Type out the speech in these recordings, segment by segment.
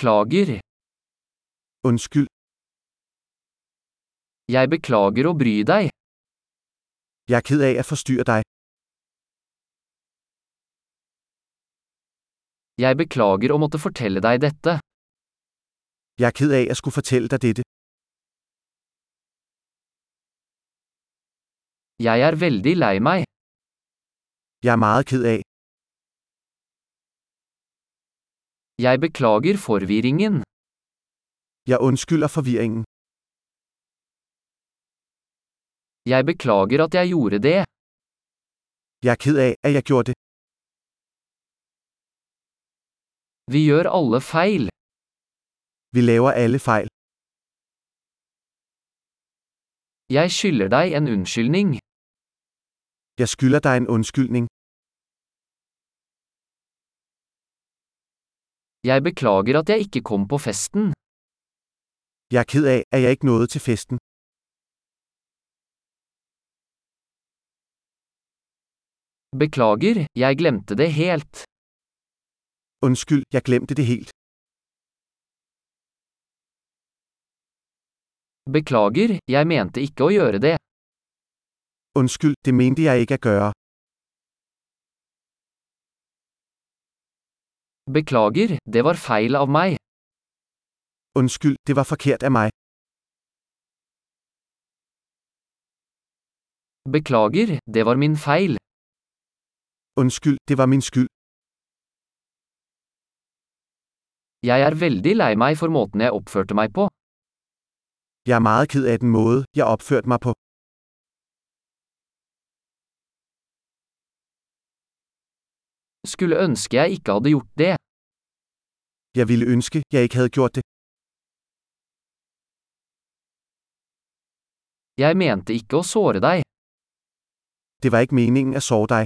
Beklager. Unnskyld, Jeg beklager å bry deg. jeg er ked af at forstyrre dig. Jeg beklager å måtte fortelle deg dette. Jeg er ked af at skulle fortælle dig dette. Jeg er veldig lei meg. Jeg er meget ked af. Jeg beklager forvirringen. Jeg undskylder forvirringen. Jeg beklager at jeg gjorde det. Jeg er ked af, at jeg gjorde det. Vi gjør alle feil. Vi laver alle fejl. Jeg skylder deg en unnskyldning. Jeg skylder dig en undskyldning. Jeg beklager at jeg ikke kom på festen. Jeg er ked af, at jeg ikke nåede til festen. Beklager, jeg glemte det helt. Undskyld, jeg glemte det helt. Beklager, jeg mente ikke å gjøre det. Undskyld, det mente jeg ikke at gøre. Beklager, det var feil av meg. Undskyld, det var forkert af mig. Beklager, det var min feil. Undskyld, det var min skyld. Jeg er veldig lei meg for måten jeg oppførte meg på. Jeg er meget ked af den måde, jeg opførte mig på. Skulle ønske jeg ikke hadde gjort det. Jeg ville ønske, jeg ikke havde gjort det. Jeg mente ikke å såre deg. Det var ikke meningen at sove dig.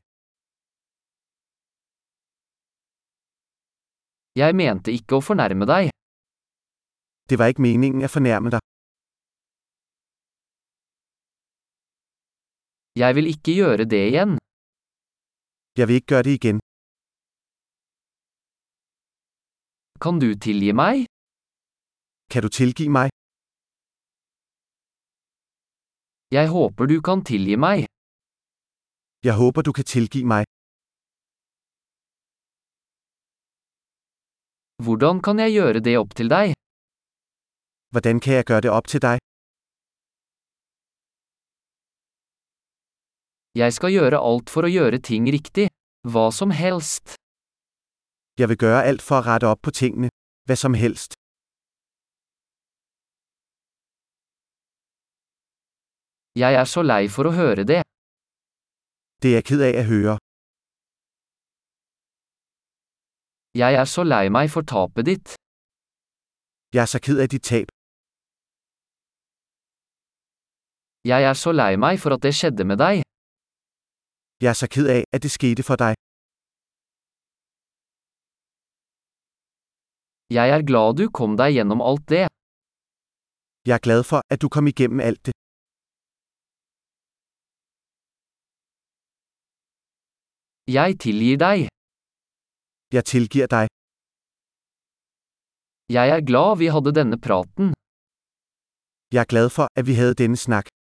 Jeg mente ikke å fornærme deg. Det var ikke meningen at fornærme dig. Jeg vil ikke gjøre det igjen. Jeg vil ikke gøre det igen. Kan du tilgi meg? Kan du tilgive mig? Jeg håper du kan tilgi meg. Jeg håber, du kan tilgive mig. Hvordan kan jeg gjøre det opp til deg? Hvordan kan jeg gøre det op til dig? Jeg skal gjøre alt for å gjøre ting riktig. Hva som helst. Jeg vil gøre alt for at rette op på tingene. Hvad som helst. Jeg er så lei for å høre det. Det er jeg ked af at høre. Jeg er så lei meg for tapet ditt. Jeg er så ked af dit tab. Jeg er så lei meg for at det skjedde med deg. Jeg er så ked af, at det skete for dig. Jeg er glad du kom deg gjennom alt det. Jeg er glad for, at du kom igennem alt det. Jeg tilgir deg. Jeg tilgiver dig. Jeg er glad vi hadde denne praten. Jeg er glad for, at vi havde denne snak.